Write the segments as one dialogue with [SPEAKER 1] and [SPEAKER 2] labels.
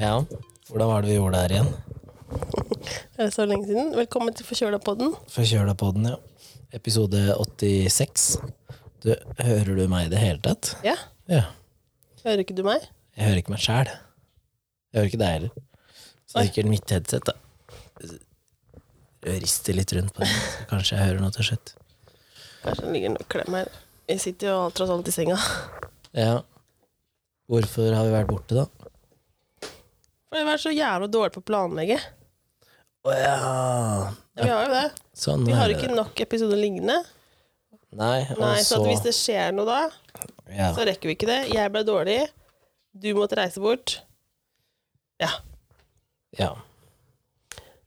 [SPEAKER 1] Ja. Hvordan var det vi gjorde det her igjen?
[SPEAKER 2] Er det så lenge siden? Velkommen til Forkjøla-podden.
[SPEAKER 1] Forkjøla på den, ja. Episode 86. Du, hører du meg i det hele tatt?
[SPEAKER 2] Ja,
[SPEAKER 1] Ja.
[SPEAKER 2] hører ikke du meg?
[SPEAKER 1] Jeg hører ikke meg sjæl. Jeg hører ikke deg heller. Så det er sikkert mitt headset, da. Jeg rister litt rundt på det, så kanskje jeg hører noe til slutt.
[SPEAKER 2] Kanskje det ligger en klem her. Vi sitter jo alt tross alt i senga.
[SPEAKER 1] Ja. Hvorfor har vi vært borte, da?
[SPEAKER 2] For det var så jævla dårlig på å planlegge.
[SPEAKER 1] Å ja.
[SPEAKER 2] Ja, vi har jo det.
[SPEAKER 1] Sånn
[SPEAKER 2] Vi
[SPEAKER 1] er
[SPEAKER 2] har
[SPEAKER 1] det.
[SPEAKER 2] ikke nok episoder liggende.
[SPEAKER 1] Nei, og
[SPEAKER 2] Nei, så
[SPEAKER 1] så,
[SPEAKER 2] at hvis det skjer noe da,
[SPEAKER 1] ja.
[SPEAKER 2] så rekker vi ikke det. Jeg ble dårlig. Du måtte reise bort. Ja.
[SPEAKER 1] ja.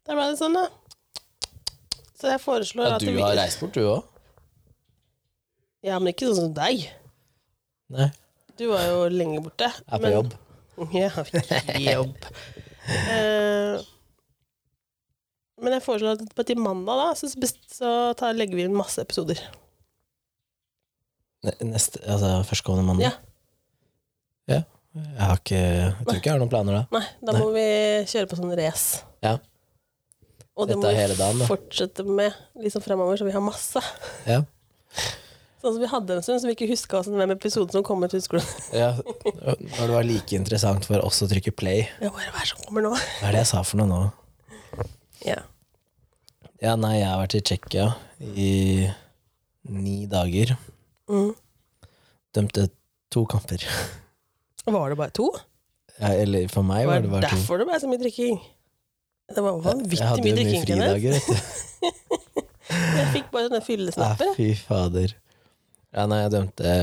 [SPEAKER 2] Da ble det sånn, da. Så jeg foreslår
[SPEAKER 1] ja
[SPEAKER 2] at
[SPEAKER 1] du
[SPEAKER 2] vi
[SPEAKER 1] har reist bort, du òg?
[SPEAKER 2] Ja, men ikke sånn som deg.
[SPEAKER 1] Nei.
[SPEAKER 2] Du var jo lenge borte.
[SPEAKER 1] Er på
[SPEAKER 2] men-
[SPEAKER 1] jobb.
[SPEAKER 2] Jeg har ikke jobb. Eh, men jeg foreslår at på til mandag da, så, best- så tar, legger vi inn masse episoder.
[SPEAKER 1] Ne- Neste, altså Førstkommende mandag?
[SPEAKER 2] Ja.
[SPEAKER 1] Ja. Jeg, har ikke, jeg tror ikke jeg har noen planer da.
[SPEAKER 2] Nei, da må vi kjøre på sånn race.
[SPEAKER 1] Ja.
[SPEAKER 2] Og det
[SPEAKER 1] Dette
[SPEAKER 2] må
[SPEAKER 1] er
[SPEAKER 2] vi
[SPEAKER 1] hele dagen, da.
[SPEAKER 2] fortsette med liksom fremover, så vi har masse.
[SPEAKER 1] Ja.
[SPEAKER 2] Sånn som vi hadde en stund, så vi ikke huska hvem episoden som kom ut. Husker du?
[SPEAKER 1] ja. Når det var like interessant for oss å trykke play.
[SPEAKER 2] Jeg bare, Hva er det som kommer nå?
[SPEAKER 1] Hva er det jeg sa for noe nå?
[SPEAKER 2] Ja.
[SPEAKER 1] Ja, nei, jeg har vært i Tsjekkia i ni dager.
[SPEAKER 2] Mm.
[SPEAKER 1] Dømte to kamper.
[SPEAKER 2] Var det bare to?
[SPEAKER 1] Ja, eller for meg var det bare to.
[SPEAKER 2] derfor det ble så mye drikking? Det var
[SPEAKER 1] Jeg
[SPEAKER 2] vanvittig
[SPEAKER 1] hadde
[SPEAKER 2] mye
[SPEAKER 1] jo
[SPEAKER 2] drikking.
[SPEAKER 1] mye
[SPEAKER 2] Kenneth.
[SPEAKER 1] fridager, vet du.
[SPEAKER 2] Jeg fikk bare sånne
[SPEAKER 1] Ja,
[SPEAKER 2] fyllesnapper.
[SPEAKER 1] Ah, fy fader. Ja, nei, jeg dømte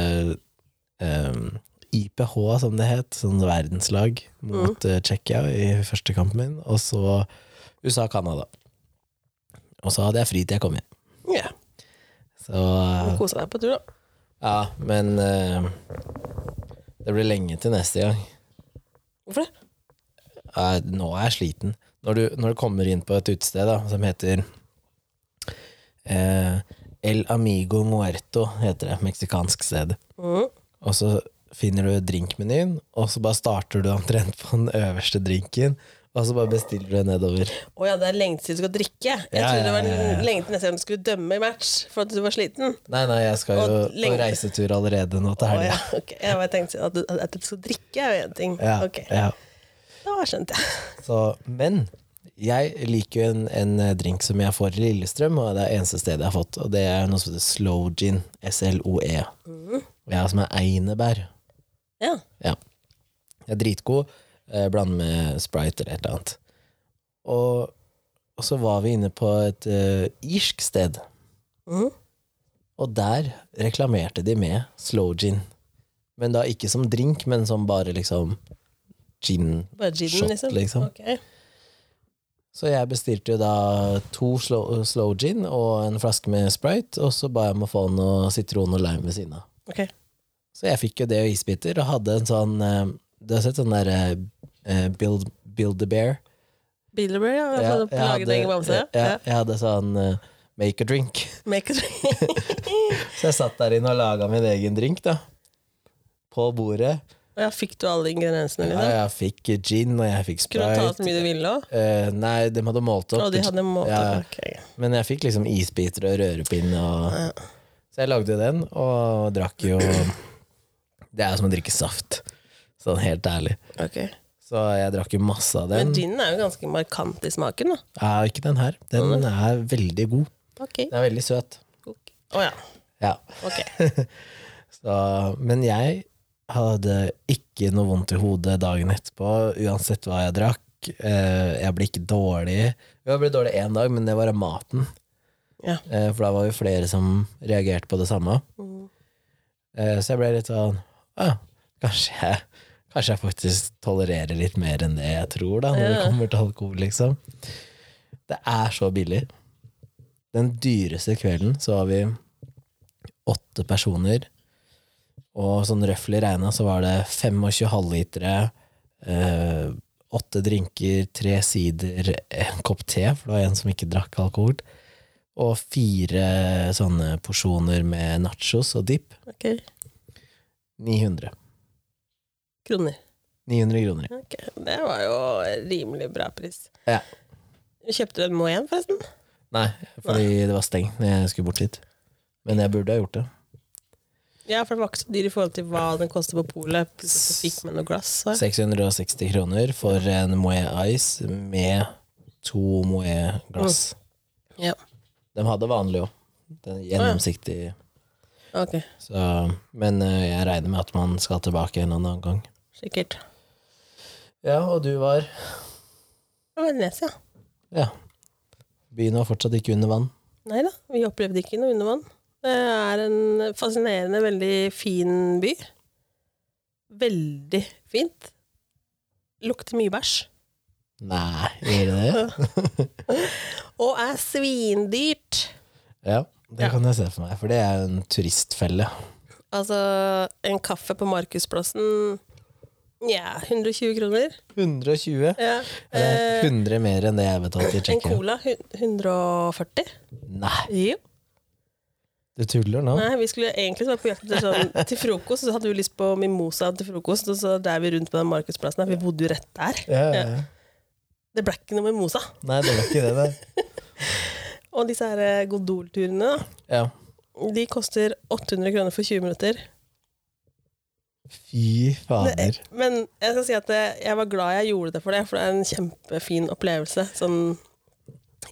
[SPEAKER 1] ehm, IPH, som det het, sånn verdenslag, mot eh, Tsjekkia i første kampen min, og så USA-Canada. Og så hadde jeg fri til jeg kom hjem.
[SPEAKER 2] Ja.
[SPEAKER 1] Så
[SPEAKER 2] Ja. Kosa deg på tur, da.
[SPEAKER 1] ja, men eh, det blir lenge til neste gang.
[SPEAKER 2] Hvorfor det?
[SPEAKER 1] Nei, nå er jeg sliten. Når du, når du kommer inn på et utested da, som heter eh, El Amigo Muerto, heter det, meksikansk sted.
[SPEAKER 2] Mhm.
[SPEAKER 1] Og så finner du drinkmenyen, og så bare starter du omtrent på den øverste drinken, og så bare bestiller du nedover.
[SPEAKER 2] Å ja, det er lenge til du skal drikke. Jeg
[SPEAKER 1] Ja,
[SPEAKER 2] trodde det var
[SPEAKER 1] ja, ja, ja.
[SPEAKER 2] lenge til neste gang du skulle dømme i match for at du var sliten.
[SPEAKER 1] Nei, nei, jeg skal jo
[SPEAKER 2] Og
[SPEAKER 1] på
[SPEAKER 2] lenge-
[SPEAKER 1] reisetur allerede nå til
[SPEAKER 2] Å ja,
[SPEAKER 1] helga.
[SPEAKER 2] ok. Jeg bare tenkte at du, at du skal drikke er jo én ting.
[SPEAKER 1] Ja,
[SPEAKER 2] Ok,
[SPEAKER 1] ja.
[SPEAKER 2] Da skjønte jeg.
[SPEAKER 1] Så, men jeg liker jo en, en eh, drink som jeg får i Lillestrøm, og det er eneste stedet jeg har fått, og det er noe som heter Slow Gin. S-L-O-E. Ja, som er einebær.
[SPEAKER 2] Ja.
[SPEAKER 1] Ja. Jeg er dritgod. Eh, Blande med Sprite eller et eller annet. Og, og så var vi inne på et eh, irsk sted,
[SPEAKER 2] Mhm.
[SPEAKER 1] og der reklamerte de med slow gin. Men da ikke som drink, men som bare liksom gin.
[SPEAKER 2] Bare ginen,
[SPEAKER 1] Shot,
[SPEAKER 2] liksom?
[SPEAKER 1] liksom.
[SPEAKER 2] Ok.
[SPEAKER 1] Så jeg bestilte jo da to slow, slow gin og en flaske med Sprite, og så ba jeg om å få noe sitron og lime ved siden av.
[SPEAKER 2] Ok.
[SPEAKER 1] Så jeg fikk jo det og isbiter, og hadde en sånn eh, Du har sett sånn der eh, Build, build a bear?
[SPEAKER 2] Bilderberry, ja.
[SPEAKER 1] Ja,
[SPEAKER 2] Jeg, jeg laget egen bamse.
[SPEAKER 1] ja,
[SPEAKER 2] Ja.
[SPEAKER 1] jeg hadde sånn eh, make a drink.
[SPEAKER 2] Make a drink.
[SPEAKER 1] Så jeg satt der inne og laga min egen drink, da. På bordet.
[SPEAKER 2] Og ja, fikk du alle ingrediensene,
[SPEAKER 1] Ja,
[SPEAKER 2] liksom?
[SPEAKER 1] jeg fikk gin, og jeg fikk
[SPEAKER 2] Kunne du ta så
[SPEAKER 1] sprite.
[SPEAKER 2] mye du ville òg?
[SPEAKER 1] Eh, nei, de hadde målt opp.
[SPEAKER 2] Og de hadde målt
[SPEAKER 1] Ja,
[SPEAKER 2] opp? ok.
[SPEAKER 1] Men jeg fikk liksom isbiter og rørepinne.
[SPEAKER 2] Ja.
[SPEAKER 1] Og... Så jeg lagde jo den, og drakk jo Det er jo som å drikke saft. Sånn helt ærlig.
[SPEAKER 2] ok.
[SPEAKER 1] Så jeg drakk jo masse av den.
[SPEAKER 2] Men ginen er jo ganske markant i smaken, da.
[SPEAKER 1] Ja, ikke den her. Den er veldig god.
[SPEAKER 2] Ok.
[SPEAKER 1] Den er veldig søt.
[SPEAKER 2] Å ja.
[SPEAKER 1] Ja.
[SPEAKER 2] Ok.
[SPEAKER 1] Så, men jeg hadde ikke noe vondt i hodet dagen etterpå, uansett hva jeg drakk. Eh, Jeg ble ikke dårlig. Jo, Jeg ble dårlig én dag, men det var av maten.
[SPEAKER 2] Ja.
[SPEAKER 1] Eh, For da var vi flere som reagerte på det samme.
[SPEAKER 2] Mhm.
[SPEAKER 1] Eh, Så jeg ble litt sånn «Å, kanskje, jeg, kanskje jeg faktisk tolererer litt mer enn det jeg tror, da, når det
[SPEAKER 2] Ja.
[SPEAKER 1] kommer til alkohol, liksom. Det er så billig. Den dyreste kvelden så var vi åtte personer, og sånn røffelig regna så var det 25 halvlitere, eh, åtte drinker, tre sider, en kopp te, for det var en som ikke drakk alkohol, og fire sånne porsjoner med nachos og dipp.
[SPEAKER 2] Ok.
[SPEAKER 1] 900.
[SPEAKER 2] Kroner.
[SPEAKER 1] 900 kroner.
[SPEAKER 2] Ok, Det var jo rimelig bra pris.
[SPEAKER 1] Ja.
[SPEAKER 2] Kjøpte du en Moët igjen, forresten?
[SPEAKER 1] Nei, fordi det var stengt når jeg skulle bort hit. Men jeg burde ha gjort det.
[SPEAKER 2] Ja, for den var ikke så dyr i forhold til hva den koster på polet. Plutselig så fikk man noe glass. Så.
[SPEAKER 1] 660 kroner for en Moët Ice med to Moët glass.
[SPEAKER 2] Ja.
[SPEAKER 1] De hadde vanlig òg. Gjennomsiktig.
[SPEAKER 2] Ok,
[SPEAKER 1] Så, men eh, jeg regner med at man skal tilbake en eller annen gang.
[SPEAKER 2] sikkert.
[SPEAKER 1] Ja, og du var
[SPEAKER 2] Det var Nes, ja.
[SPEAKER 1] Ja. Byen var fortsatt ikke under vann.
[SPEAKER 2] Nei da, vi opplevde ikke noe undervann. Det er en fascinerende, veldig fin by. Veldig fint. Lukter mye bæsj.
[SPEAKER 1] Nei, gjorde det det?
[SPEAKER 2] Og er svindyrt.
[SPEAKER 1] Ja, det kan jeg se for meg, for det er jo en turistfelle.
[SPEAKER 2] Altså, en kaffe på Markusplassen Nja, 120 kroner.
[SPEAKER 1] 120?
[SPEAKER 2] Ja.
[SPEAKER 1] Det er
[SPEAKER 2] Eh,
[SPEAKER 1] 100 mer enn det jeg betalte i
[SPEAKER 2] en
[SPEAKER 1] Tsjekkia.
[SPEAKER 2] cola hun- 140.
[SPEAKER 1] Nei,
[SPEAKER 2] Jo.
[SPEAKER 1] du tuller nå?
[SPEAKER 2] Nei, vi skulle egentlig være på jakt etter sånn til frokost, og så hadde vi lyst på mimosa til frokost, og så drev vi rundt på den Markusplassen her. Vi bodde jo rett der.
[SPEAKER 1] Ja, ja, ja.
[SPEAKER 2] Det ble ikke noe mimosa.
[SPEAKER 1] Nei, det var ikke det, nei.
[SPEAKER 2] Og disse her eh, Godol-turene, da,
[SPEAKER 1] Ja.
[SPEAKER 2] de koster 800 kroner for 20 minutter.
[SPEAKER 1] Fy fader.
[SPEAKER 2] Men jeg skal si at eh, jeg var glad jeg gjorde det for det, for det er en kjempefin opplevelse. Sånn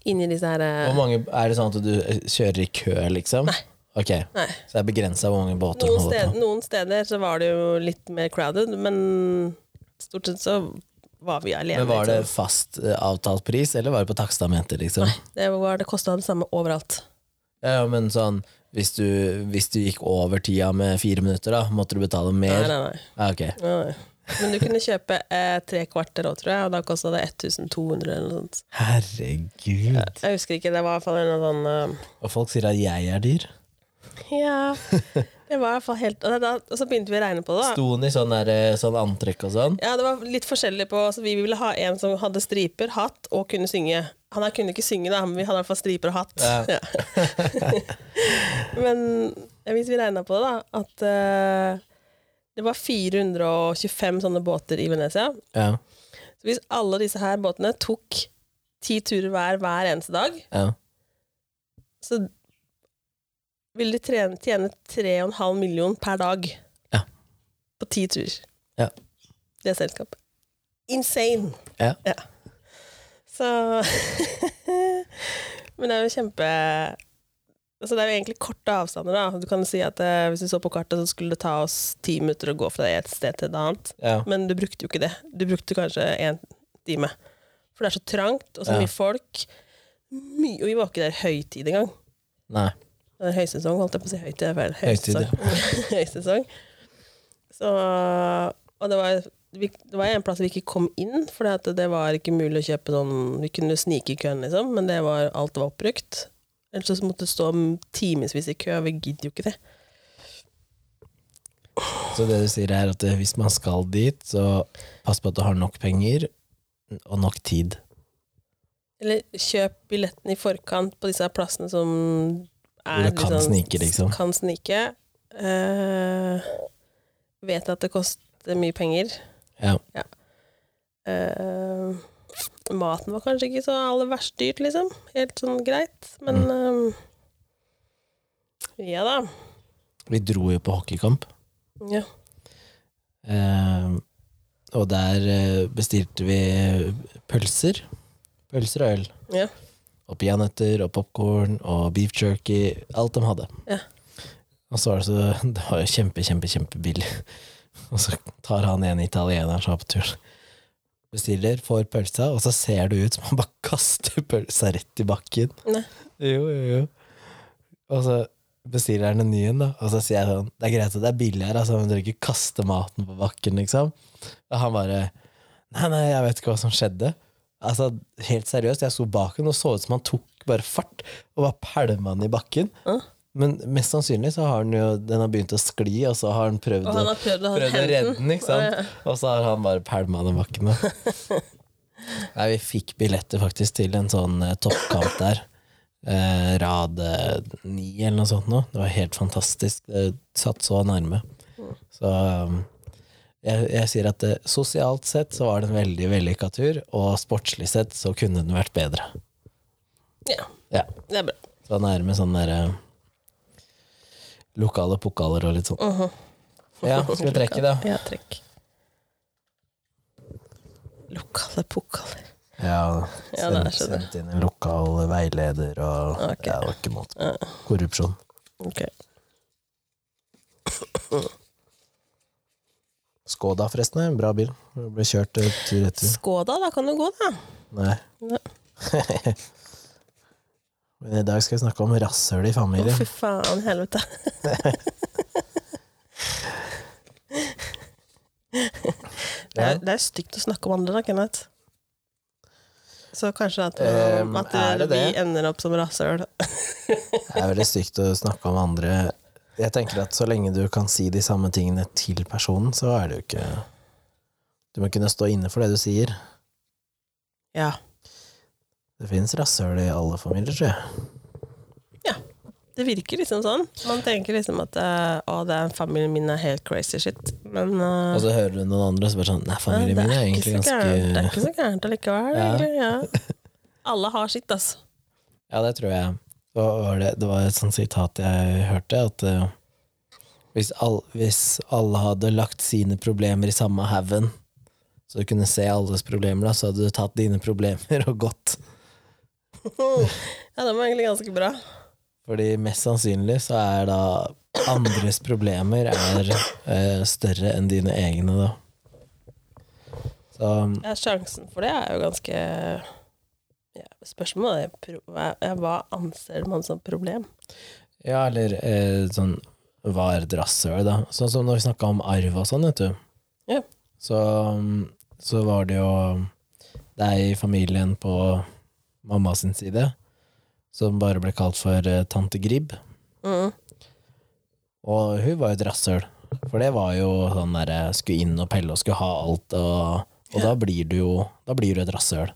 [SPEAKER 2] inni disse her
[SPEAKER 1] Hvor
[SPEAKER 2] eh,
[SPEAKER 1] mange, er det sånn at du kjører i kø, liksom? Nei. Ok,
[SPEAKER 2] Nei.
[SPEAKER 1] Så det er begrensa hvor mange båter
[SPEAKER 2] Noen
[SPEAKER 1] man går
[SPEAKER 2] steder,
[SPEAKER 1] på?
[SPEAKER 2] noen steder så var det jo litt mer crowded, men stort sett så var vi alene.
[SPEAKER 1] Men Var det
[SPEAKER 2] liksom.
[SPEAKER 1] fast eh, avtalt pris, eller var det på takstamentet, liksom?
[SPEAKER 2] det, var- det kosta det samme overalt.
[SPEAKER 1] Ja, men sånn hvis du, hvis du gikk over tida med fire minutter, da, måtte du betale
[SPEAKER 2] Nei,
[SPEAKER 1] mer?
[SPEAKER 2] nei, nei.
[SPEAKER 1] Ja, ok.
[SPEAKER 2] Nei, nei. Men du kunne kjøpe eh, tre kvarter òg, tror jeg, og da kosta det 1200 eller noe sånt.
[SPEAKER 1] Herregud.
[SPEAKER 2] Jeg husker ikke, det var i hvert fall en eller annen eh,
[SPEAKER 1] Og folk sier at jeg er dyr.
[SPEAKER 2] Ja. Det var i hvert fall helt Og, da, og så begynte vi å regne på det. da.
[SPEAKER 1] Sto den i sånn, der, eh, sånn antrekk og sånn?
[SPEAKER 2] Ja, det var litt forskjellig på så Vi ville ha en som hadde striper, hatt og kunne synge. Han her kunne ikke synge, da, men vi hadde i hvert fall striper og hatt.
[SPEAKER 1] Ja.
[SPEAKER 2] Ja. men hvis vi regna på det, da, at eh, det var 425 sånne båter i Venezia.
[SPEAKER 1] Ja.
[SPEAKER 2] Så hvis alle disse her båtene tok ti turer hver hver eneste dag,
[SPEAKER 1] ja.
[SPEAKER 2] så ville de trene, tjene 3,5 million per dag
[SPEAKER 1] Ja.
[SPEAKER 2] på ti turer.
[SPEAKER 1] Ja.
[SPEAKER 2] Det selskapet. Insane!
[SPEAKER 1] Ja.
[SPEAKER 2] Så Men det er jo kjempe Altså Det er jo egentlig korte avstander. da Du kan si at eh, Hvis du så på kartet, så skulle det ta oss ti minutter å gå fra et sted til et annet.
[SPEAKER 1] ja.
[SPEAKER 2] Men du brukte jo ikke det. Du brukte kanskje én time. For det er så trangt, og så
[SPEAKER 1] Ja.
[SPEAKER 2] mye folk. Mye, og vi var ikke der høytid engang.
[SPEAKER 1] Nei.
[SPEAKER 2] Det er høysesong, holdt jeg på å si. Høytid er feil.
[SPEAKER 1] Høytid, ja.
[SPEAKER 2] Høysesong. høysesong. Så, og det var, vi, det var en plass vi ikke kom inn, for det var ikke mulig å kjøpe sånn Vi kunne snike i køen, liksom, men det var, alt var oppbrukt. Ellers så måtte du stå timevis i kø, og vi gidder jo ikke det.
[SPEAKER 1] Så det du sier, er at eh, hvis man skal dit, så pass på at du har nok penger og nok tid.
[SPEAKER 2] Eller kjøp billetten i forkant på disse her plassene som er
[SPEAKER 1] Hvor det kan snike, liksom.
[SPEAKER 2] Kan snike. Eh, vet at det koster mye penger.
[SPEAKER 1] Ja.
[SPEAKER 2] Eh, maten var kanskje ikke så aller verst dyrt, liksom. Helt sånn greit, men
[SPEAKER 1] Mm.
[SPEAKER 2] eh, Ja da.
[SPEAKER 1] Vi dro jo på hockeykamp,
[SPEAKER 2] Ja.
[SPEAKER 1] eh, og der eh, bestilte vi pølser. Pølser og øl.
[SPEAKER 2] Ja.
[SPEAKER 1] Og peanøtter og popkorn og beef jerky. Alt de hadde.
[SPEAKER 2] Ja.
[SPEAKER 1] Og så var det så Det var jo kjempe, kjempe, kjempebillig. Og så tar han en italiener som er på tur. Bestiller, får pølsa, og så ser det ut som han bare kaster pølsa rett i bakken.
[SPEAKER 2] Nei.
[SPEAKER 1] Jo, jo, jo. Og så bestiller han en ny en, da. Og så sier jeg sånn Det er greit at det er billig her, altså, men dere ikke kaste maten på bakken, liksom. Og han bare Nei, nei, jeg vet ikke hva som skjedde. Altså, Helt seriøst, jeg sto bak ham og så ut som han tok bare fart og bare pælma den i bakken.
[SPEAKER 2] Ja.
[SPEAKER 1] Men mest sannsynlig så har den jo Den har begynt å skli, og så har han prøvd,
[SPEAKER 2] Og han
[SPEAKER 1] å,
[SPEAKER 2] har prøvd å
[SPEAKER 1] prøvd å
[SPEAKER 2] hente
[SPEAKER 1] redde den, ikke sant? Og så har han bare pælma den i bakken. da. Nei, vi fikk billetter faktisk til en sånn eh, toppkamp der. Eh, rad eh, ni eller noe sånt nå. Det var helt fantastisk. Det satt så nærme. Så um, Jeg, jeg sier at eh, sosialt sett så var det en veldig vellykka tur, og sportslig sett så kunne den vært bedre.
[SPEAKER 2] Ja,
[SPEAKER 1] Ja.
[SPEAKER 2] det er bra.
[SPEAKER 1] Så han er med sånn derre Lokale pokaler og litt sånn.
[SPEAKER 2] Mhm.
[SPEAKER 1] Ja, skal vi trekke, da?
[SPEAKER 2] Ja, trekk. Lokale pokaler.
[SPEAKER 1] Ja,
[SPEAKER 2] Ja, det er
[SPEAKER 1] sendt,
[SPEAKER 2] så det.
[SPEAKER 1] sendt inn en lokal veileder og
[SPEAKER 2] Ok.
[SPEAKER 1] ja, det var ikke måte.
[SPEAKER 2] Ja.
[SPEAKER 1] Korrupsjon.
[SPEAKER 2] Ok.
[SPEAKER 1] Skoda, forresten. er en Bra bil. Ble kjørt eh, tur etter.
[SPEAKER 2] Skåda, da kan du gå, da.
[SPEAKER 1] Nei.
[SPEAKER 2] Nei.
[SPEAKER 1] Men i dag skal vi snakke om rasshøl i
[SPEAKER 2] Å,
[SPEAKER 1] familien.
[SPEAKER 2] fy faen, helvete. Det
[SPEAKER 1] Ja.
[SPEAKER 2] er, det er stygt å snakke om andre, da, Kenneth. Så kanskje at, eh,
[SPEAKER 1] Ehm,
[SPEAKER 2] at
[SPEAKER 1] er det
[SPEAKER 2] vi
[SPEAKER 1] det?
[SPEAKER 2] ender opp som rasshøl.
[SPEAKER 1] Det er veldig stygt å snakke om andre. Jeg tenker at så lenge du kan si de samme tingene til personen, så er det jo ikke Du må kunne stå inne for det du sier.
[SPEAKER 2] Ja.
[SPEAKER 1] Det fins rasshøl i alle familier, tror jeg.
[SPEAKER 2] Det virker liksom sånn. Man tenker liksom at eh, å, det er familien min er helt crazy shit. Men eh,
[SPEAKER 1] Og så hører du noen andre som er sånn Nei, Altså, familien
[SPEAKER 2] ja,
[SPEAKER 1] min
[SPEAKER 2] det
[SPEAKER 1] er
[SPEAKER 2] ikke
[SPEAKER 1] egentlig
[SPEAKER 2] så gærent- Det er
[SPEAKER 1] ganske
[SPEAKER 2] ikke så gærent allikevel,
[SPEAKER 1] Ja.
[SPEAKER 2] egentlig. Ja. Alle har sitt, altså.
[SPEAKER 1] Ja, det tror jeg. Hva var det? det var et sånt sitat jeg hørte, at eh, hvis, all, hvis alle hadde lagt sine problemer i samme haugen, så du kunne se alles problemer, da, så hadde du tatt dine problemer og gått.
[SPEAKER 2] Ja, det var egentlig ganske bra.
[SPEAKER 1] Fordi mest sannsynlig så er da andres problemer er eh, større enn dine egne, da. Så
[SPEAKER 2] Ja, sjansen for det er jo ganske ja, Spørsmålet er pro- hva- ja, hva anser man som problem?
[SPEAKER 1] Ja, eller eh, sånn Hva er et rasshøl, da? Sånn som når vi snakka om arv og sånn, vet du.
[SPEAKER 2] Ja.
[SPEAKER 1] Så, mm, så var det jo deg i familien på mamma sin side som bare ble kalt for eh, tante Gribb.
[SPEAKER 2] Mm.
[SPEAKER 1] Og hun var jo et rasshøl. For det var jo sånn derre skulle inn og pelle og skulle ha alt, og, og
[SPEAKER 2] Ja.
[SPEAKER 1] da blir du jo Da blir du et rasshøl.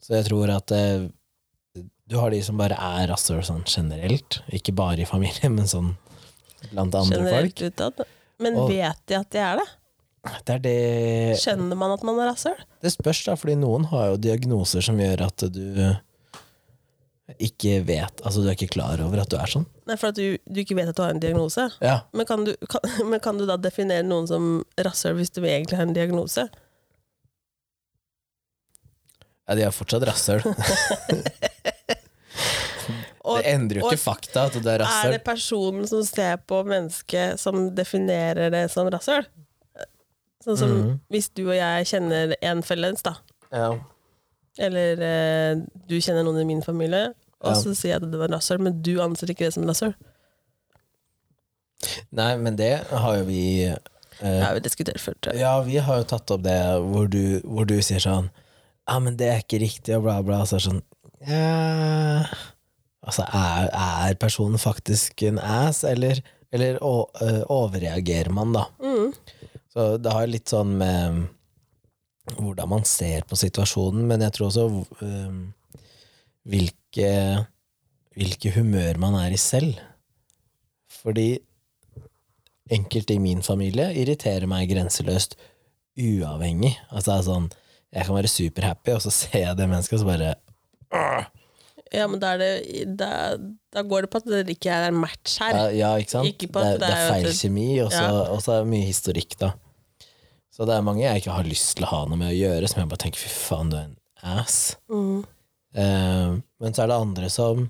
[SPEAKER 1] Så jeg tror at eh, du har de som bare er rasshøl sånn generelt. Ikke bare i familie, men sånn blant andre
[SPEAKER 2] Generelt utad. Men
[SPEAKER 1] Og-
[SPEAKER 2] vet de at de er det?
[SPEAKER 1] folk. Det er det
[SPEAKER 2] Skjønner man at man er rasshøl?
[SPEAKER 1] Det spørs, da, fordi noen har jo diagnoser som gjør at du ikke vet Altså, du er ikke klar over at du er sånn.
[SPEAKER 2] Nei, for at du, du ikke vet at du har en diagnose.
[SPEAKER 1] Ja.
[SPEAKER 2] Men kan du, kan, men kan du da definere noen som rasshøl hvis du egentlig har en diagnose?
[SPEAKER 1] ja de er fortsatt rasshøl.
[SPEAKER 2] Og
[SPEAKER 1] Det endrer jo
[SPEAKER 2] og-
[SPEAKER 1] ikke fakta at du er
[SPEAKER 2] er
[SPEAKER 1] rasshøl.
[SPEAKER 2] det personen som ser på mennesket, som definerer det som rasshøl? Sånn som
[SPEAKER 1] Mhm.
[SPEAKER 2] hvis du og jeg kjenner en felles, da.
[SPEAKER 1] Ja.
[SPEAKER 2] Eller eh, du kjenner noen i min familie, og
[SPEAKER 1] Ja.
[SPEAKER 2] så sier jeg at det var rasshøl, men du anser ikke det som rasshøl.
[SPEAKER 1] Nei, men det har jo vi
[SPEAKER 2] Det
[SPEAKER 1] eh,
[SPEAKER 2] har vi diskutert før, tror jeg.
[SPEAKER 1] Ja, vi har jo tatt opp det hvor du, hvor du sier sånn Ja, men det er ikke riktig, og bla, bla. Så er det sånn ja. Altså, er, er personen faktisk en ass, eller, eller å, eh, overreagerer man, da?
[SPEAKER 2] Mm.
[SPEAKER 1] Så det har litt sånn med hvordan man ser på situasjonen, men jeg tror også eh, hvilke, hvilke humør man er i selv. Fordi enkelte i min familie irriterer meg grenseløst uavhengig. Altså det er sånn, jeg kan være superhappy, og så ser jeg det mennesket, og så bare
[SPEAKER 2] Ja, men da, er det, da, da går det på at det ikke er en match her.
[SPEAKER 1] Ja, ja ikke sant?
[SPEAKER 2] Ikke på
[SPEAKER 1] det, er,
[SPEAKER 2] at
[SPEAKER 1] det
[SPEAKER 2] det
[SPEAKER 1] er
[SPEAKER 2] er jo
[SPEAKER 1] feil
[SPEAKER 2] at det-
[SPEAKER 1] kjemi, og så
[SPEAKER 2] Ja.
[SPEAKER 1] og så er det mye historikk, da. Så det er mange jeg ikke har lyst til å ha noe med å gjøre, som jeg bare tenker fy faen, du er en ass.
[SPEAKER 2] Mm.
[SPEAKER 1] Eh, men så er det andre som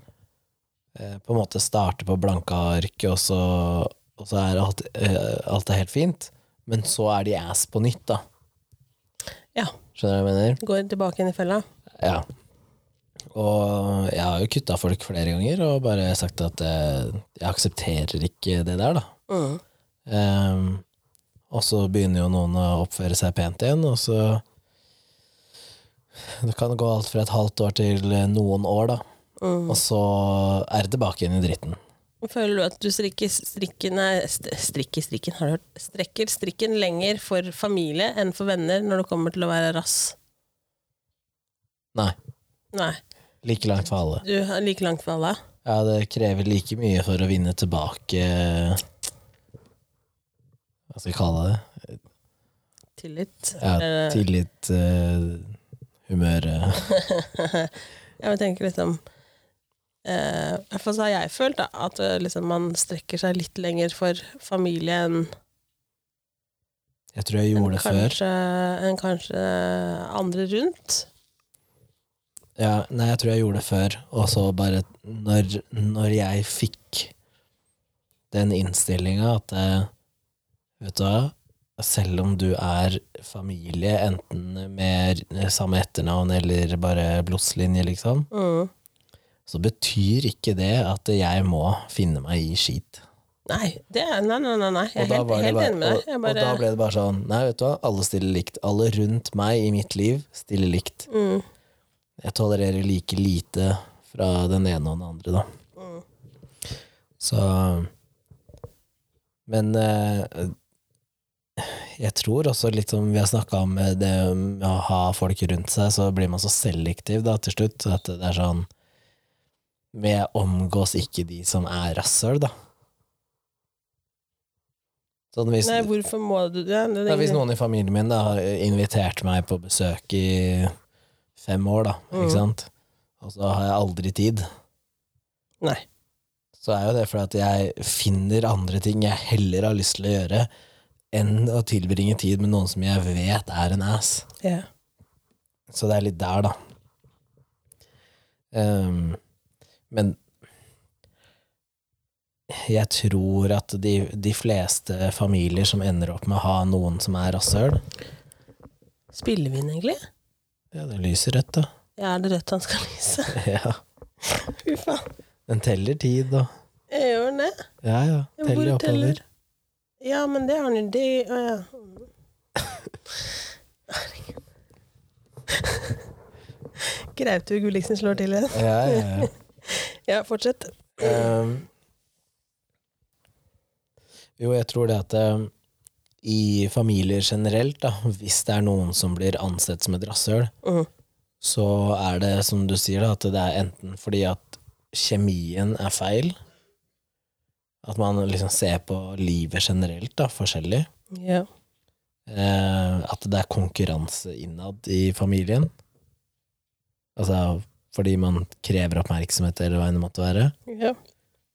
[SPEAKER 1] eh, på en måte starter på blanke ark, og så, og så er alt, eh, alt er helt fint, men så er de ass på nytt, da.
[SPEAKER 2] Ja.
[SPEAKER 1] Skjønner du hva jeg mener?
[SPEAKER 2] Går tilbake inn i fella.
[SPEAKER 1] Ja. Og jeg har jo kutta folk flere ganger og bare sagt at eh, jeg aksepterer ikke det der, da.
[SPEAKER 2] Mm.
[SPEAKER 1] Ehm, og så begynner jo noen å oppføre seg pent igjen, og så Det kan gå alt fra et halvt år til eh, noen år, da.
[SPEAKER 2] Mm.
[SPEAKER 1] Og så er det tilbake igjen i dritten.
[SPEAKER 2] Føler du at du strikker strikken nei, st- strikker strikken, har du hørt? Strekker strikken lenger for familie enn for venner når det kommer til å være rass?
[SPEAKER 1] Nei.
[SPEAKER 2] Nei.
[SPEAKER 1] Like langt for alle.
[SPEAKER 2] Du er like langt for alle.
[SPEAKER 1] Ja, det krever like mye for å vinne tilbake Hva skal jeg kalle det?
[SPEAKER 2] Tillit.
[SPEAKER 1] Ja,
[SPEAKER 2] Eh,
[SPEAKER 1] tillit, eh, humør eh.
[SPEAKER 2] Jeg vil tenke liksom eh, I hvert fall så har jeg følt da, at eh, liksom, man strekker seg litt lenger for familie enn
[SPEAKER 1] Jeg tror jeg gjorde
[SPEAKER 2] enn
[SPEAKER 1] det før.
[SPEAKER 2] kanskje, enn kanskje andre rundt.
[SPEAKER 1] Ja, nei, jeg tror jeg gjorde det før, og så bare når, når jeg fikk den innstillinga at eh, Vet du hva, selv om du er familie, enten med samme etternavn eller bare blodslinje, liksom,
[SPEAKER 2] Mm.
[SPEAKER 1] så betyr ikke det at jeg må finne meg i skit.
[SPEAKER 2] Nei, det er, nei, nei, nei, nei. Jeg
[SPEAKER 1] Og da
[SPEAKER 2] er helt,
[SPEAKER 1] var det
[SPEAKER 2] helt
[SPEAKER 1] bare-
[SPEAKER 2] enig med deg.
[SPEAKER 1] og-
[SPEAKER 2] Jeg
[SPEAKER 1] Og
[SPEAKER 2] bare,
[SPEAKER 1] da ble det bare sånn Nei, vet du hva, alle stiller likt. Alle rundt meg i mitt liv stiller likt.
[SPEAKER 2] mm,
[SPEAKER 1] Jeg tolererer like lite fra den ene og den andre, da.
[SPEAKER 2] mm.
[SPEAKER 1] Så Men eh, jeg tror også litt som vi har snakka om eh, det med å ha folk rundt seg, så blir man så selektiv da til slutt at det er sånn Men jeg omgås ikke de som er rasshøl, da. Sånn hvis,
[SPEAKER 2] Nei, hvorfor må du det? det, er
[SPEAKER 1] ja, hvis
[SPEAKER 2] egentlig-
[SPEAKER 1] noen i familien min da, har invitert meg på besøk i fem år, da,
[SPEAKER 2] Mm.
[SPEAKER 1] ikke sant? og så har jeg aldri tid,
[SPEAKER 2] Nei.
[SPEAKER 1] så er jo det fordi at jeg finner andre ting jeg heller har lyst til å gjøre, enn å tilbringe tid med noen som jeg vet er en ass.
[SPEAKER 2] Ja.
[SPEAKER 1] Så det er litt der, da. Ehm, men jeg tror at de, de fleste familier som ender opp med å ha noen som er rasshøl
[SPEAKER 2] Spiller vi inn, egentlig?
[SPEAKER 1] Ja, det lyser rødt, da.
[SPEAKER 2] Ja, er det rødt han skal lyse?
[SPEAKER 1] Ja.
[SPEAKER 2] Fy faen.
[SPEAKER 1] Den teller tid, da.
[SPEAKER 2] Jeg gjør den det.
[SPEAKER 1] Ja, ja.
[SPEAKER 2] Ja,
[SPEAKER 1] Teller
[SPEAKER 2] hvor teller?
[SPEAKER 1] oppover.
[SPEAKER 2] Ja, men det har han jo det Å ja. Graute Gulliksen slår til igjen.
[SPEAKER 1] Ja, ja, ja.
[SPEAKER 2] Ja, fortsett.
[SPEAKER 1] Ehm, jo, jeg tror det at eh, i familier generelt, da, hvis det er noen som blir ansett som et rasshøl,
[SPEAKER 2] Mhm.
[SPEAKER 1] så er det som du sier, da, at det er enten fordi at kjemien er feil, at man liksom ser på livet generelt da, forskjellig,
[SPEAKER 2] Ja.
[SPEAKER 1] eh, at det er konkurranse innad i familien, altså fordi man krever oppmerksomhet eller hva enn det måtte være,
[SPEAKER 2] ja.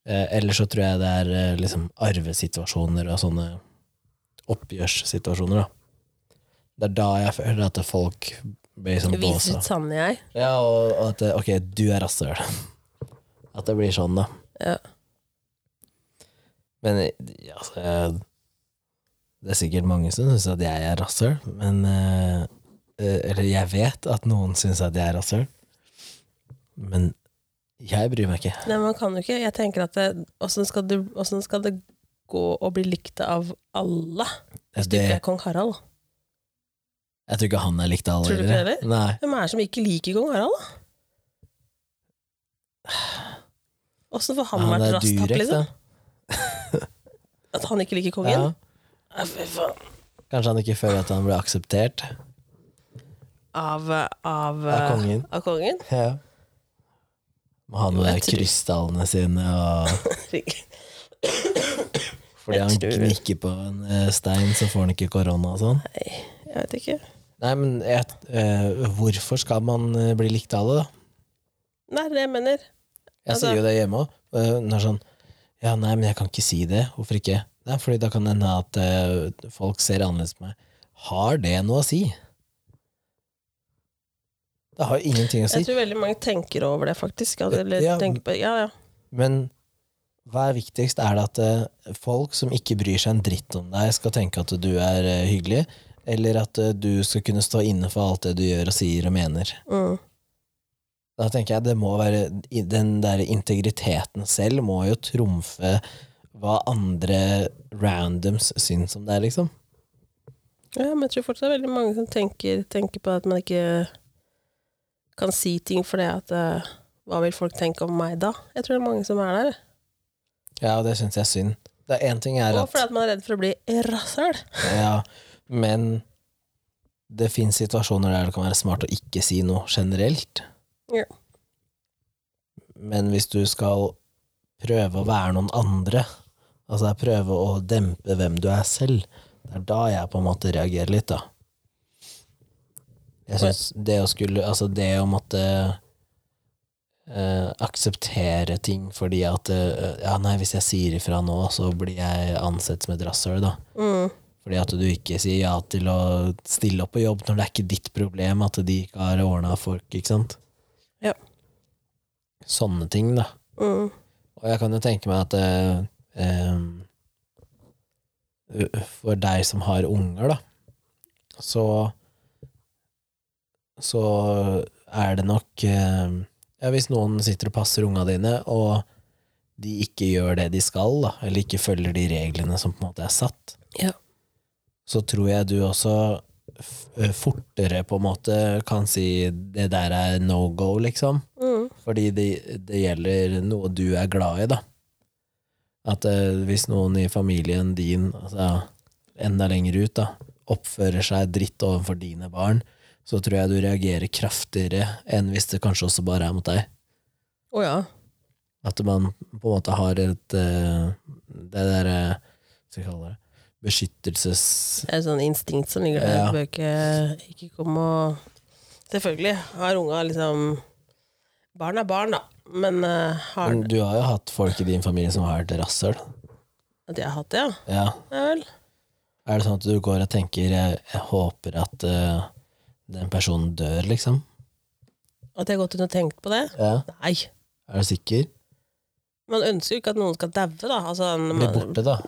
[SPEAKER 1] Eh, Eller så tror jeg det er eh, liksom arvesituasjoner og sånne oppgjørssituasjoner. da. Det er da jeg føler at folk blir sånn
[SPEAKER 2] Vis
[SPEAKER 1] båsa.
[SPEAKER 2] litt sanne jeg.
[SPEAKER 1] Ja, og og at eh, ok, du er rasshøl. At det blir sånn, da.
[SPEAKER 2] Ja.
[SPEAKER 1] Men eh, ja, altså jeg- Det er sikkert mange som syns at jeg er rasshøl, men eh, eh, Eller jeg vet at noen syns at jeg er rasshøl, men jeg bryr meg ikke.
[SPEAKER 2] Nei, man kan jo ikke. Jeg tenker at det- åssen skal, du- hvordan skal det gå å bli likt av alle? Hvis du ikke er
[SPEAKER 1] Det,
[SPEAKER 2] kong Harald.
[SPEAKER 1] jeg tror ikke han er likt av alle.
[SPEAKER 2] Tror du ikke
[SPEAKER 1] heller.
[SPEAKER 2] det
[SPEAKER 1] Nei.
[SPEAKER 2] Hvem er det som ikke liker kong Harald, da? Åssen får han, vært rastakk,
[SPEAKER 1] Durek,
[SPEAKER 2] liksom?
[SPEAKER 1] da.
[SPEAKER 2] At han ikke liker
[SPEAKER 1] Ja.
[SPEAKER 2] kongen? Ja, fy faen.
[SPEAKER 1] Kanskje han ikke føler at han ble akseptert
[SPEAKER 2] Av, eh, av,
[SPEAKER 1] av
[SPEAKER 2] eh,
[SPEAKER 1] kongen.
[SPEAKER 2] av kongen?
[SPEAKER 1] Ja. Må ha noe
[SPEAKER 2] Jeg tror-
[SPEAKER 1] krystallene sine og Fordi
[SPEAKER 2] Jeg
[SPEAKER 1] han
[SPEAKER 2] tror-
[SPEAKER 1] gnikker på en eh, stein, så får han ikke korona og sånn.
[SPEAKER 2] Jeg vet ikke.
[SPEAKER 1] Nei, men jeg, eh, hvorfor skal man eh, bli likt av alle, da?
[SPEAKER 2] Nei, det er det jeg mener.
[SPEAKER 1] Jeg
[SPEAKER 2] Altså-
[SPEAKER 1] sier jo det hjemme òg. Hun er sånn Ja, nei, men jeg kan ikke si det. Hvorfor ikke? Nei, fordi da kan det hende at eh, folk ser annerledes på meg. Har det noe å si? Det har jo ingenting å si.
[SPEAKER 2] Jeg tror veldig mange tenker over det, faktisk. At, eller,
[SPEAKER 1] Ja,
[SPEAKER 2] tenker på, ja, ja.
[SPEAKER 1] Men hva er viktigst? Er det at eh, folk som ikke bryr seg en dritt om deg, skal tenke at du er eh, hyggelig? Eller at eh, du skal kunne stå inne for alt det du gjør og sier og mener?
[SPEAKER 2] Mm.
[SPEAKER 1] Da tenker jeg det må være i- Den der integriteten selv må jo trumfe hva andre randoms syns om deg, liksom.
[SPEAKER 2] ja, men jeg tror fortsatt det er veldig mange som tenker, tenker på at man ikke kan si ting fordi at eh, Hva vil folk tenke om meg da? Jeg tror det er mange som er der.
[SPEAKER 1] Ja, og det syns jeg er synd. Det er én ting er
[SPEAKER 2] Og
[SPEAKER 1] at
[SPEAKER 2] fordi at man er redd for å bli rasshøl.
[SPEAKER 1] Ja, men det fins situasjoner der det kan være smart å ikke si noe generelt.
[SPEAKER 2] Ja.
[SPEAKER 1] Men hvis du skal prøve å være noen andre, altså prøve å dempe hvem du er selv, det er da jeg på en måte reagerer litt, da. Jeg synes det å skulle Altså, det å måtte eh, akseptere ting fordi at eh, Ja, nei, hvis jeg sier ifra nå, så blir jeg ansett som et rasshøl, da.
[SPEAKER 2] Mm.
[SPEAKER 1] Fordi at du ikke sier ja til å stille opp på jobb når det er ikke ditt problem at de ikke har ordna folk, ikke sant?
[SPEAKER 2] Ja.
[SPEAKER 1] Sånne ting, da.
[SPEAKER 2] Mm.
[SPEAKER 1] Og jeg kan jo tenke meg at eh, em, For deg som har unger, da, så Så er det nok eh, Ja, hvis noen sitter og passer unga dine, og de ikke gjør det de skal, da, eller ikke følger de reglene som på en måte er satt,
[SPEAKER 2] Ja.
[SPEAKER 1] så tror jeg du også f- eh, fortere på en måte kan si 'det der er no go', liksom.
[SPEAKER 2] Mm.
[SPEAKER 1] Fordi det, det gjelder noe du er glad i, da. At eh, hvis noen i familien din, altså enda lenger ut, da, oppfører seg dritt overfor dine barn, så tror jeg du reagerer kraftigere enn hvis det kanskje også bare er mot deg.
[SPEAKER 2] Å ja.
[SPEAKER 1] At man på en måte har et eh, Det derre Hva skal jeg kalle det? Beskyttelses...
[SPEAKER 2] Det er et sånn instinkt som ligger der.
[SPEAKER 1] Ja.
[SPEAKER 2] Du bør ikke, ikke komme og Selvfølgelig har unga liksom Barn er barn, da. Men eh, har
[SPEAKER 1] Men Du har jo hatt folk i din familie som har vært rasshøl.
[SPEAKER 2] At jeg har hatt det, ja.
[SPEAKER 1] Ja.
[SPEAKER 2] Ja vel.
[SPEAKER 1] Er det sånn at du går og tenker Jeg, jeg håper at eh, den personen dør, liksom?
[SPEAKER 2] At jeg har gått inn og tenkt på det?
[SPEAKER 1] Ja.
[SPEAKER 2] Nei.
[SPEAKER 1] Er du sikker?
[SPEAKER 2] Man ønsker jo ikke at noen skal daue, da. Altså, når
[SPEAKER 1] Bli
[SPEAKER 2] man-
[SPEAKER 1] borte, da.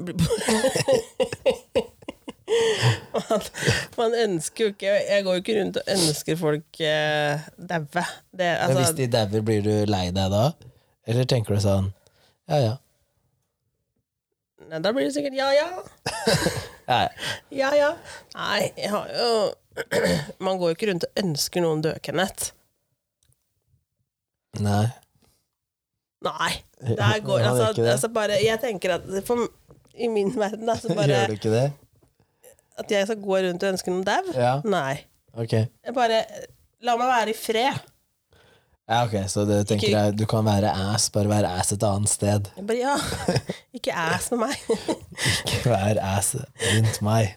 [SPEAKER 2] blir bort- man, man ønsker jo ikke Jeg går jo ikke rundt og ønsker folk eh, daue. Det,
[SPEAKER 1] Men hvis
[SPEAKER 2] altså,
[SPEAKER 1] de dauer, blir du lei deg da? Eller tenker du sånn Ja, ja.
[SPEAKER 2] nei, da blir det sikkert ja, ja.
[SPEAKER 1] ja,
[SPEAKER 2] Ja, ja. Nei, jeg har jo Man går jo ikke rundt og ønsker noen død, Kenneth.
[SPEAKER 1] ja. Nei.
[SPEAKER 2] Nei. Der
[SPEAKER 1] Han
[SPEAKER 2] går
[SPEAKER 1] gjør
[SPEAKER 2] altså,
[SPEAKER 1] ikke det.
[SPEAKER 2] altså bare Jeg tenker at for, i min verden, da, så bare
[SPEAKER 1] Gjør du ikke det?
[SPEAKER 2] At jeg skal gå rundt og ønske noen dau?
[SPEAKER 1] Ja,
[SPEAKER 2] Nei.
[SPEAKER 1] ok.
[SPEAKER 2] Jeg bare La meg være i fred.
[SPEAKER 1] Ja, ok, Så du tenker deg, du kan være ass, bare være ass et annet sted.
[SPEAKER 2] Jeg bare, ja. Ikke ass med meg.
[SPEAKER 1] Ikke vær ass rundt meg.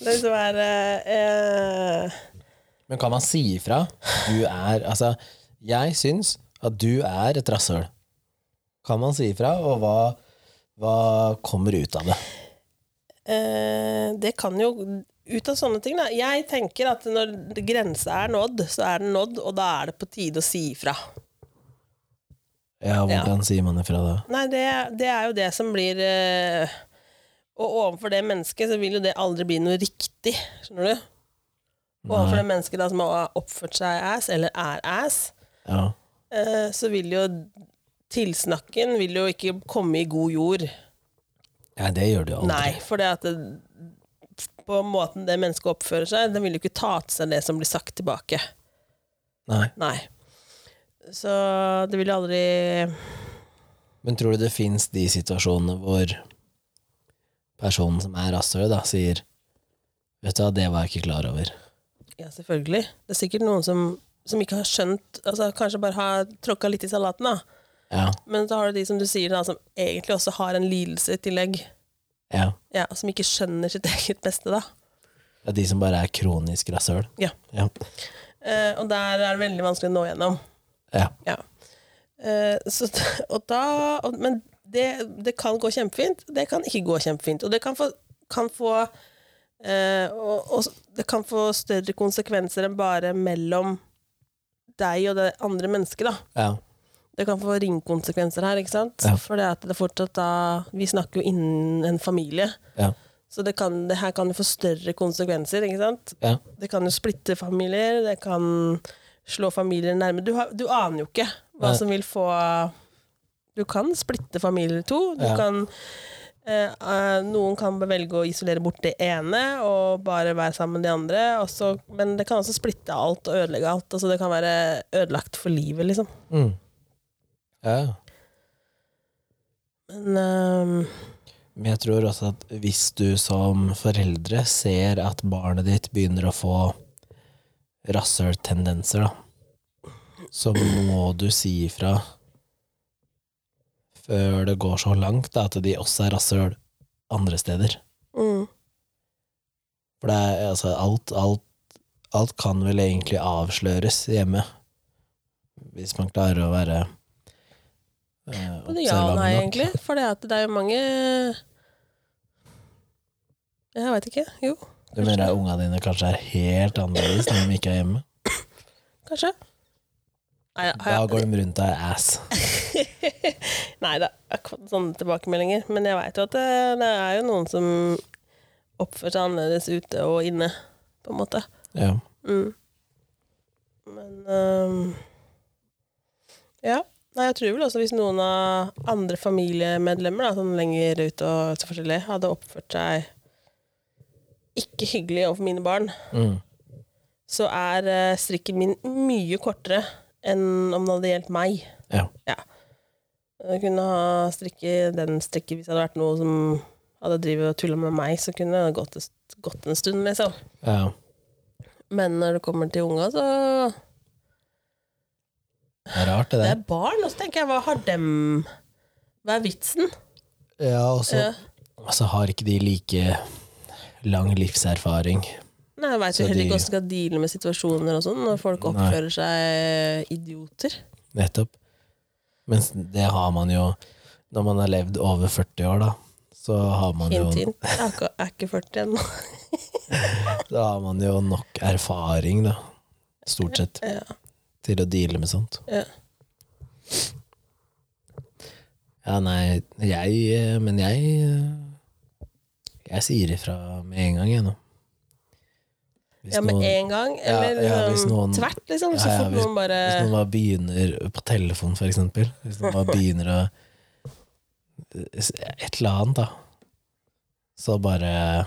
[SPEAKER 2] Det som er eh,
[SPEAKER 1] Men kan man si ifra? Du er Altså, jeg syns at du er et rasshøl. Kan man si ifra, og hva, hva kommer ut av det?
[SPEAKER 2] eh, Det kan jo ut av sånne ting, da. Jeg tenker at når grensa er nådd, så er den nådd, og da er det på tide å si ifra.
[SPEAKER 1] Ja, hvordan sier man ifra da?
[SPEAKER 2] Nei, det, det er jo det som blir eh, Og overfor det mennesket så vil jo det aldri bli noe riktig, skjønner du? Overfor det mennesket da som har oppført seg ass, eller er ass,
[SPEAKER 1] Ja.
[SPEAKER 2] eh, så vil jo tilsnakken vil jo ikke komme i god jord.
[SPEAKER 1] Nei, det gjør du jo aldri.
[SPEAKER 2] Nei, for det at det, på måten det mennesket oppfører seg, den vil jo ikke ta til seg det som blir sagt tilbake.
[SPEAKER 1] Nei.
[SPEAKER 2] Nei. Så det vil jo aldri
[SPEAKER 1] Men tror du det fins de situasjonene hvor personen som er rasshølet, da, sier Vet du hva, det var jeg ikke klar over.
[SPEAKER 2] Ja, selvfølgelig. Det er sikkert noen som, som ikke har skjønt altså Kanskje bare har tråkka litt i salaten, da.
[SPEAKER 1] Ja,
[SPEAKER 2] Men så har du de som du sier, da, som egentlig også har en lidelse i tillegg.
[SPEAKER 1] ja.
[SPEAKER 2] Ja, Som ikke skjønner sitt eget beste, da.
[SPEAKER 1] Det er de som bare er kronisk rasshøl.
[SPEAKER 2] Ja.
[SPEAKER 1] Ja.
[SPEAKER 2] Eh, og der er det veldig vanskelig å nå gjennom.
[SPEAKER 1] ja.
[SPEAKER 2] Ja. Eh, så, og da, og, men det, det kan gå kjempefint, det kan ikke gå kjempefint. Og det kan få, kan få eh, og, og det kan få større konsekvenser enn bare mellom deg og det andre mennesket, da.
[SPEAKER 1] ja.
[SPEAKER 2] Det kan få ringkonsekvenser her, ikke sant?
[SPEAKER 1] Ja.
[SPEAKER 2] For det at det fortsatt da Vi snakker jo innen en familie.
[SPEAKER 1] Ja.
[SPEAKER 2] Så det, kan, det her kan jo få større konsekvenser, ikke sant?
[SPEAKER 1] Ja.
[SPEAKER 2] Det kan jo splitte familier, det kan slå familier nærme. Du, har, du aner jo ikke hva
[SPEAKER 1] Nei.
[SPEAKER 2] som vil få Du kan splitte familier i to. Du
[SPEAKER 1] Ja.
[SPEAKER 2] kan, eh, eh, noen kan velge å isolere bort det ene og bare være sammen med de andre. og så- men det kan også splitte alt og ødelegge alt. Altså det kan være ødelagt for livet, liksom.
[SPEAKER 1] Mm. ja.
[SPEAKER 2] Men ehm,
[SPEAKER 1] Men jeg tror også at hvis du som foreldre ser at barnet ditt begynner å få rasshøltendenser, da, så må du si ifra før det går så langt da, at de også er rasshøl andre steder.
[SPEAKER 2] mm,
[SPEAKER 1] For det er altså alt, alt alt kan vel egentlig avsløres hjemme. Hvis man klarer å være eh,
[SPEAKER 2] Både ja og
[SPEAKER 1] observant
[SPEAKER 2] nei,
[SPEAKER 1] nok.
[SPEAKER 2] egentlig. For det, at det er jo mange Jeg veit ikke. Jo,
[SPEAKER 1] Du mener at unga dine kanskje er helt annerledes når de ikke er hjemme?
[SPEAKER 2] kanskje. Nei,
[SPEAKER 1] Da
[SPEAKER 2] har jeg,
[SPEAKER 1] går de rundt og er ass.
[SPEAKER 2] nei det er ikke fått sånne tilbakemeldinger. Men jeg veit jo at det, det er jo noen som oppfører seg annerledes ute og inne, på en måte.
[SPEAKER 1] Ja.
[SPEAKER 2] Mm. Men øhm, Ja. Nei, jeg tror vel også hvis noen av andre familiemedlemmer da, sånn lenger ut og så forskjellig, hadde oppført seg ikke hyggelig overfor mine barn,
[SPEAKER 1] Mm.
[SPEAKER 2] så er eh, strikken min mye kortere enn om det hadde gjeldt meg.
[SPEAKER 1] ja.
[SPEAKER 2] Jeg kunne ha strikke den strikken hvis det hadde vært noe som hadde drevet og tulla med meg, så kunne det gått, gått en stund, liksom.
[SPEAKER 1] ja.
[SPEAKER 2] Men når det kommer til unga, så
[SPEAKER 1] Det er rart, det
[SPEAKER 2] Det
[SPEAKER 1] der.
[SPEAKER 2] er barn, og så tenker jeg, hva har dem Hva er vitsen?
[SPEAKER 1] Ja, og så
[SPEAKER 2] Ja.
[SPEAKER 1] så Altså, har ikke de like lang livserfaring.
[SPEAKER 2] Nei, Jeg veit
[SPEAKER 1] Så
[SPEAKER 2] jo heller
[SPEAKER 1] de-
[SPEAKER 2] ikke hvordan de skal deale med situasjoner og sånn, når folk
[SPEAKER 1] Nei.
[SPEAKER 2] oppfører seg idioter.
[SPEAKER 1] Nettopp. Mens det har man jo når man har levd over 40 år, da. Så har man, jo,
[SPEAKER 2] Hint, hint. Jeg er ikke- jeg er ikke 40 ennå.
[SPEAKER 1] da har man jo nok erfaring, da. Stort sett.
[SPEAKER 2] Ja.
[SPEAKER 1] Til å deale med sånt.
[SPEAKER 2] Ja.
[SPEAKER 1] Ja, nei, jeg eh, Men jeg eh, Jeg sier ifra med en gang, jeg, nå. Hvis
[SPEAKER 2] ja, med
[SPEAKER 1] noen-
[SPEAKER 2] en gang,
[SPEAKER 1] Ja,
[SPEAKER 2] eller
[SPEAKER 1] ja, hvis
[SPEAKER 2] liksom,
[SPEAKER 1] noen-
[SPEAKER 2] tvert, liksom. Så
[SPEAKER 1] Ja, ja,
[SPEAKER 2] fort
[SPEAKER 1] hvis-
[SPEAKER 2] noen bare
[SPEAKER 1] Hvis noen bare begynner på telefon, for eksempel. Hvis noen bare begynner å Et eller annet, da. Så bare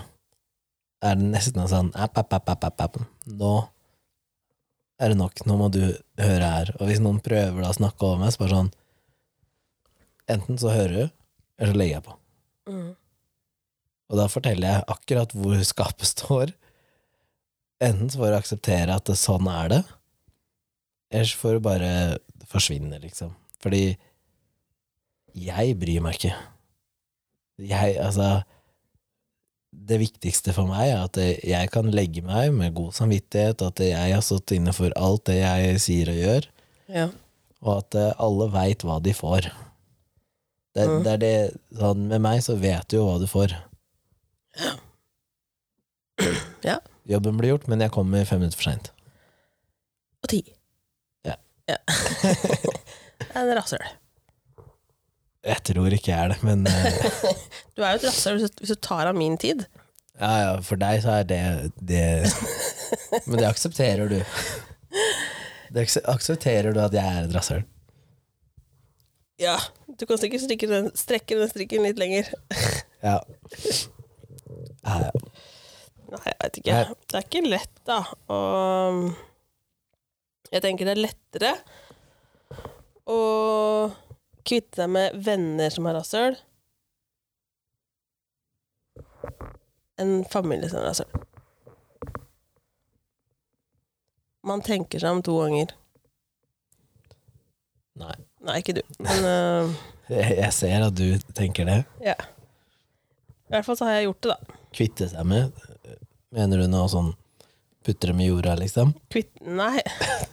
[SPEAKER 1] er det nesten en sånn app, app, app, app, app, app. Nå er det nok. Nå må du høre her. Og hvis noen prøver da å snakke over meg, så bare sånn Enten så hører du, eller så legger jeg på.
[SPEAKER 2] mm.
[SPEAKER 1] Og da forteller jeg akkurat hvor skapet står. Enten så får du akseptere at det, sånn er det, eller så får du bare forsvinne, liksom. Fordi jeg bryr meg ikke. Jeg, altså Det viktigste for meg er at jeg kan legge meg med god samvittighet, at jeg har stått inne for alt det jeg sier og gjør,
[SPEAKER 2] ja.
[SPEAKER 1] og at eh, alle veit hva de får. Det,
[SPEAKER 2] Mhm.
[SPEAKER 1] det er det, sånn, med meg så vet du jo hva du får.
[SPEAKER 2] Ja.
[SPEAKER 1] Jobben blir gjort, men jeg kommer fem minutter for seint.
[SPEAKER 2] Og ti.
[SPEAKER 1] Ja.
[SPEAKER 2] ja. en rasshøl.
[SPEAKER 1] Jeg tror ikke jeg er det, men eh,
[SPEAKER 2] Du er jo et rasshøl hvis, du- hvis du tar av min tid.
[SPEAKER 1] ja, ja, for deg så er det det Men det aksepterer du. Det akse- aksepterer du at jeg er et rasshøl.
[SPEAKER 2] Ja, du kan sikkert strikke den, strekke den strikken litt lenger.
[SPEAKER 1] Ja. Ja, ja.
[SPEAKER 2] Nei, jeg veit ikke.
[SPEAKER 1] Nei.
[SPEAKER 2] Det er ikke lett, da. Og jeg tenker det er lettere å kvitte seg med venner som har rasshøl, enn familie som har rasshøl. Man tenker seg om to ganger.
[SPEAKER 1] Nei.
[SPEAKER 2] Nei, ikke du. Men øh,
[SPEAKER 1] Jeg jeg ser at du tenker det.
[SPEAKER 2] ja. I hvert fall så har jeg gjort det, da.
[SPEAKER 1] Kvitte seg med. Mener du noe sånn putte dem i jorda, liksom?
[SPEAKER 2] Kvitt... Nei.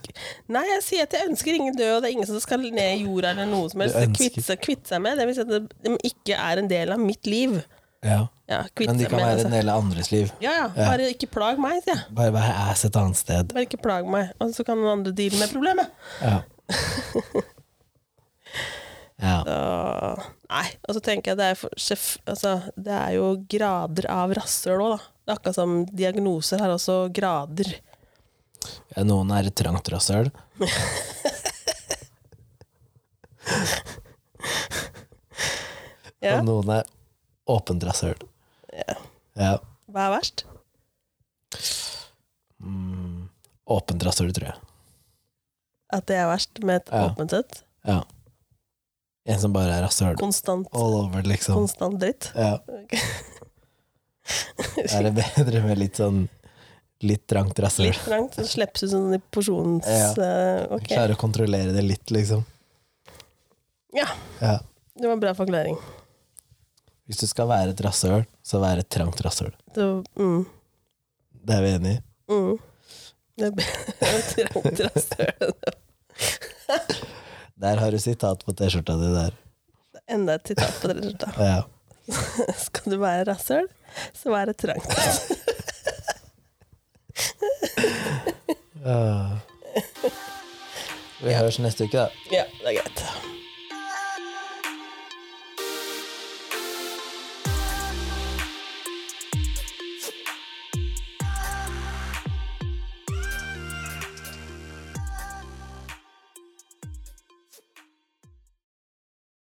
[SPEAKER 2] Nei, jeg sier at jeg ønsker ingen død, og det er ingen som skal ned i jorda eller noe som helst.
[SPEAKER 1] Du ønsker-
[SPEAKER 2] Kvitte seg, kvitte seg med. Det vil si at de- de ikke er en del av mitt liv.
[SPEAKER 1] Ja.
[SPEAKER 2] Ja, kvitte
[SPEAKER 1] Men de
[SPEAKER 2] seg
[SPEAKER 1] kan
[SPEAKER 2] med.
[SPEAKER 1] være en
[SPEAKER 2] Altså.
[SPEAKER 1] del av andres liv.
[SPEAKER 2] Ja, ja. Bare ikke plag meg, sier jeg.
[SPEAKER 1] Bare være ass et annet sted.
[SPEAKER 2] Bare ikke plag meg, og så kan noen andre deale med problemet.
[SPEAKER 1] Ja. ja.
[SPEAKER 2] Så, nei, og så tenker jeg det er, for, sjef, altså, det er jo grader av rasshøl òg, da. Det er akkurat som diagnoser har også grader.
[SPEAKER 1] Ja, Noen er et trangt rasshøl.
[SPEAKER 2] Ja.
[SPEAKER 1] Og noen er åpent rasshøl.
[SPEAKER 2] Ja.
[SPEAKER 1] Ja.
[SPEAKER 2] Hva er verst?
[SPEAKER 1] Mm. Åpent rasshøl, tror jeg.
[SPEAKER 2] At det er verst med et
[SPEAKER 1] Ja.
[SPEAKER 2] åpent sett?
[SPEAKER 1] Ja. En som bare er rasshøl
[SPEAKER 2] Konstant,
[SPEAKER 1] all over, liksom.
[SPEAKER 2] konstant dritt?
[SPEAKER 1] Ja.
[SPEAKER 2] Ok.
[SPEAKER 1] Er det bedre med litt sånn litt trangt rasshøl?
[SPEAKER 2] Litt trangt, så slippes du sånn i porsjons...
[SPEAKER 1] Ja.
[SPEAKER 2] eh, ok,
[SPEAKER 1] Klare å kontrollere det litt, liksom.
[SPEAKER 2] Ja.
[SPEAKER 1] ja.
[SPEAKER 2] det var en bra forklaring.
[SPEAKER 1] Hvis du skal være et rasshøl, så være et trangt rasshøl.
[SPEAKER 2] Så, mm,
[SPEAKER 1] Det er vi enig i?
[SPEAKER 2] mm. Det er bedre rasshøl.
[SPEAKER 1] Der har du sitat på T-skjorta di der.
[SPEAKER 2] Enda et sitat på det. da.
[SPEAKER 1] Ja.
[SPEAKER 2] Skal du være rasshøl, så vær et trangt.
[SPEAKER 1] Vi høres neste uke, da.
[SPEAKER 2] Ja, det er greit.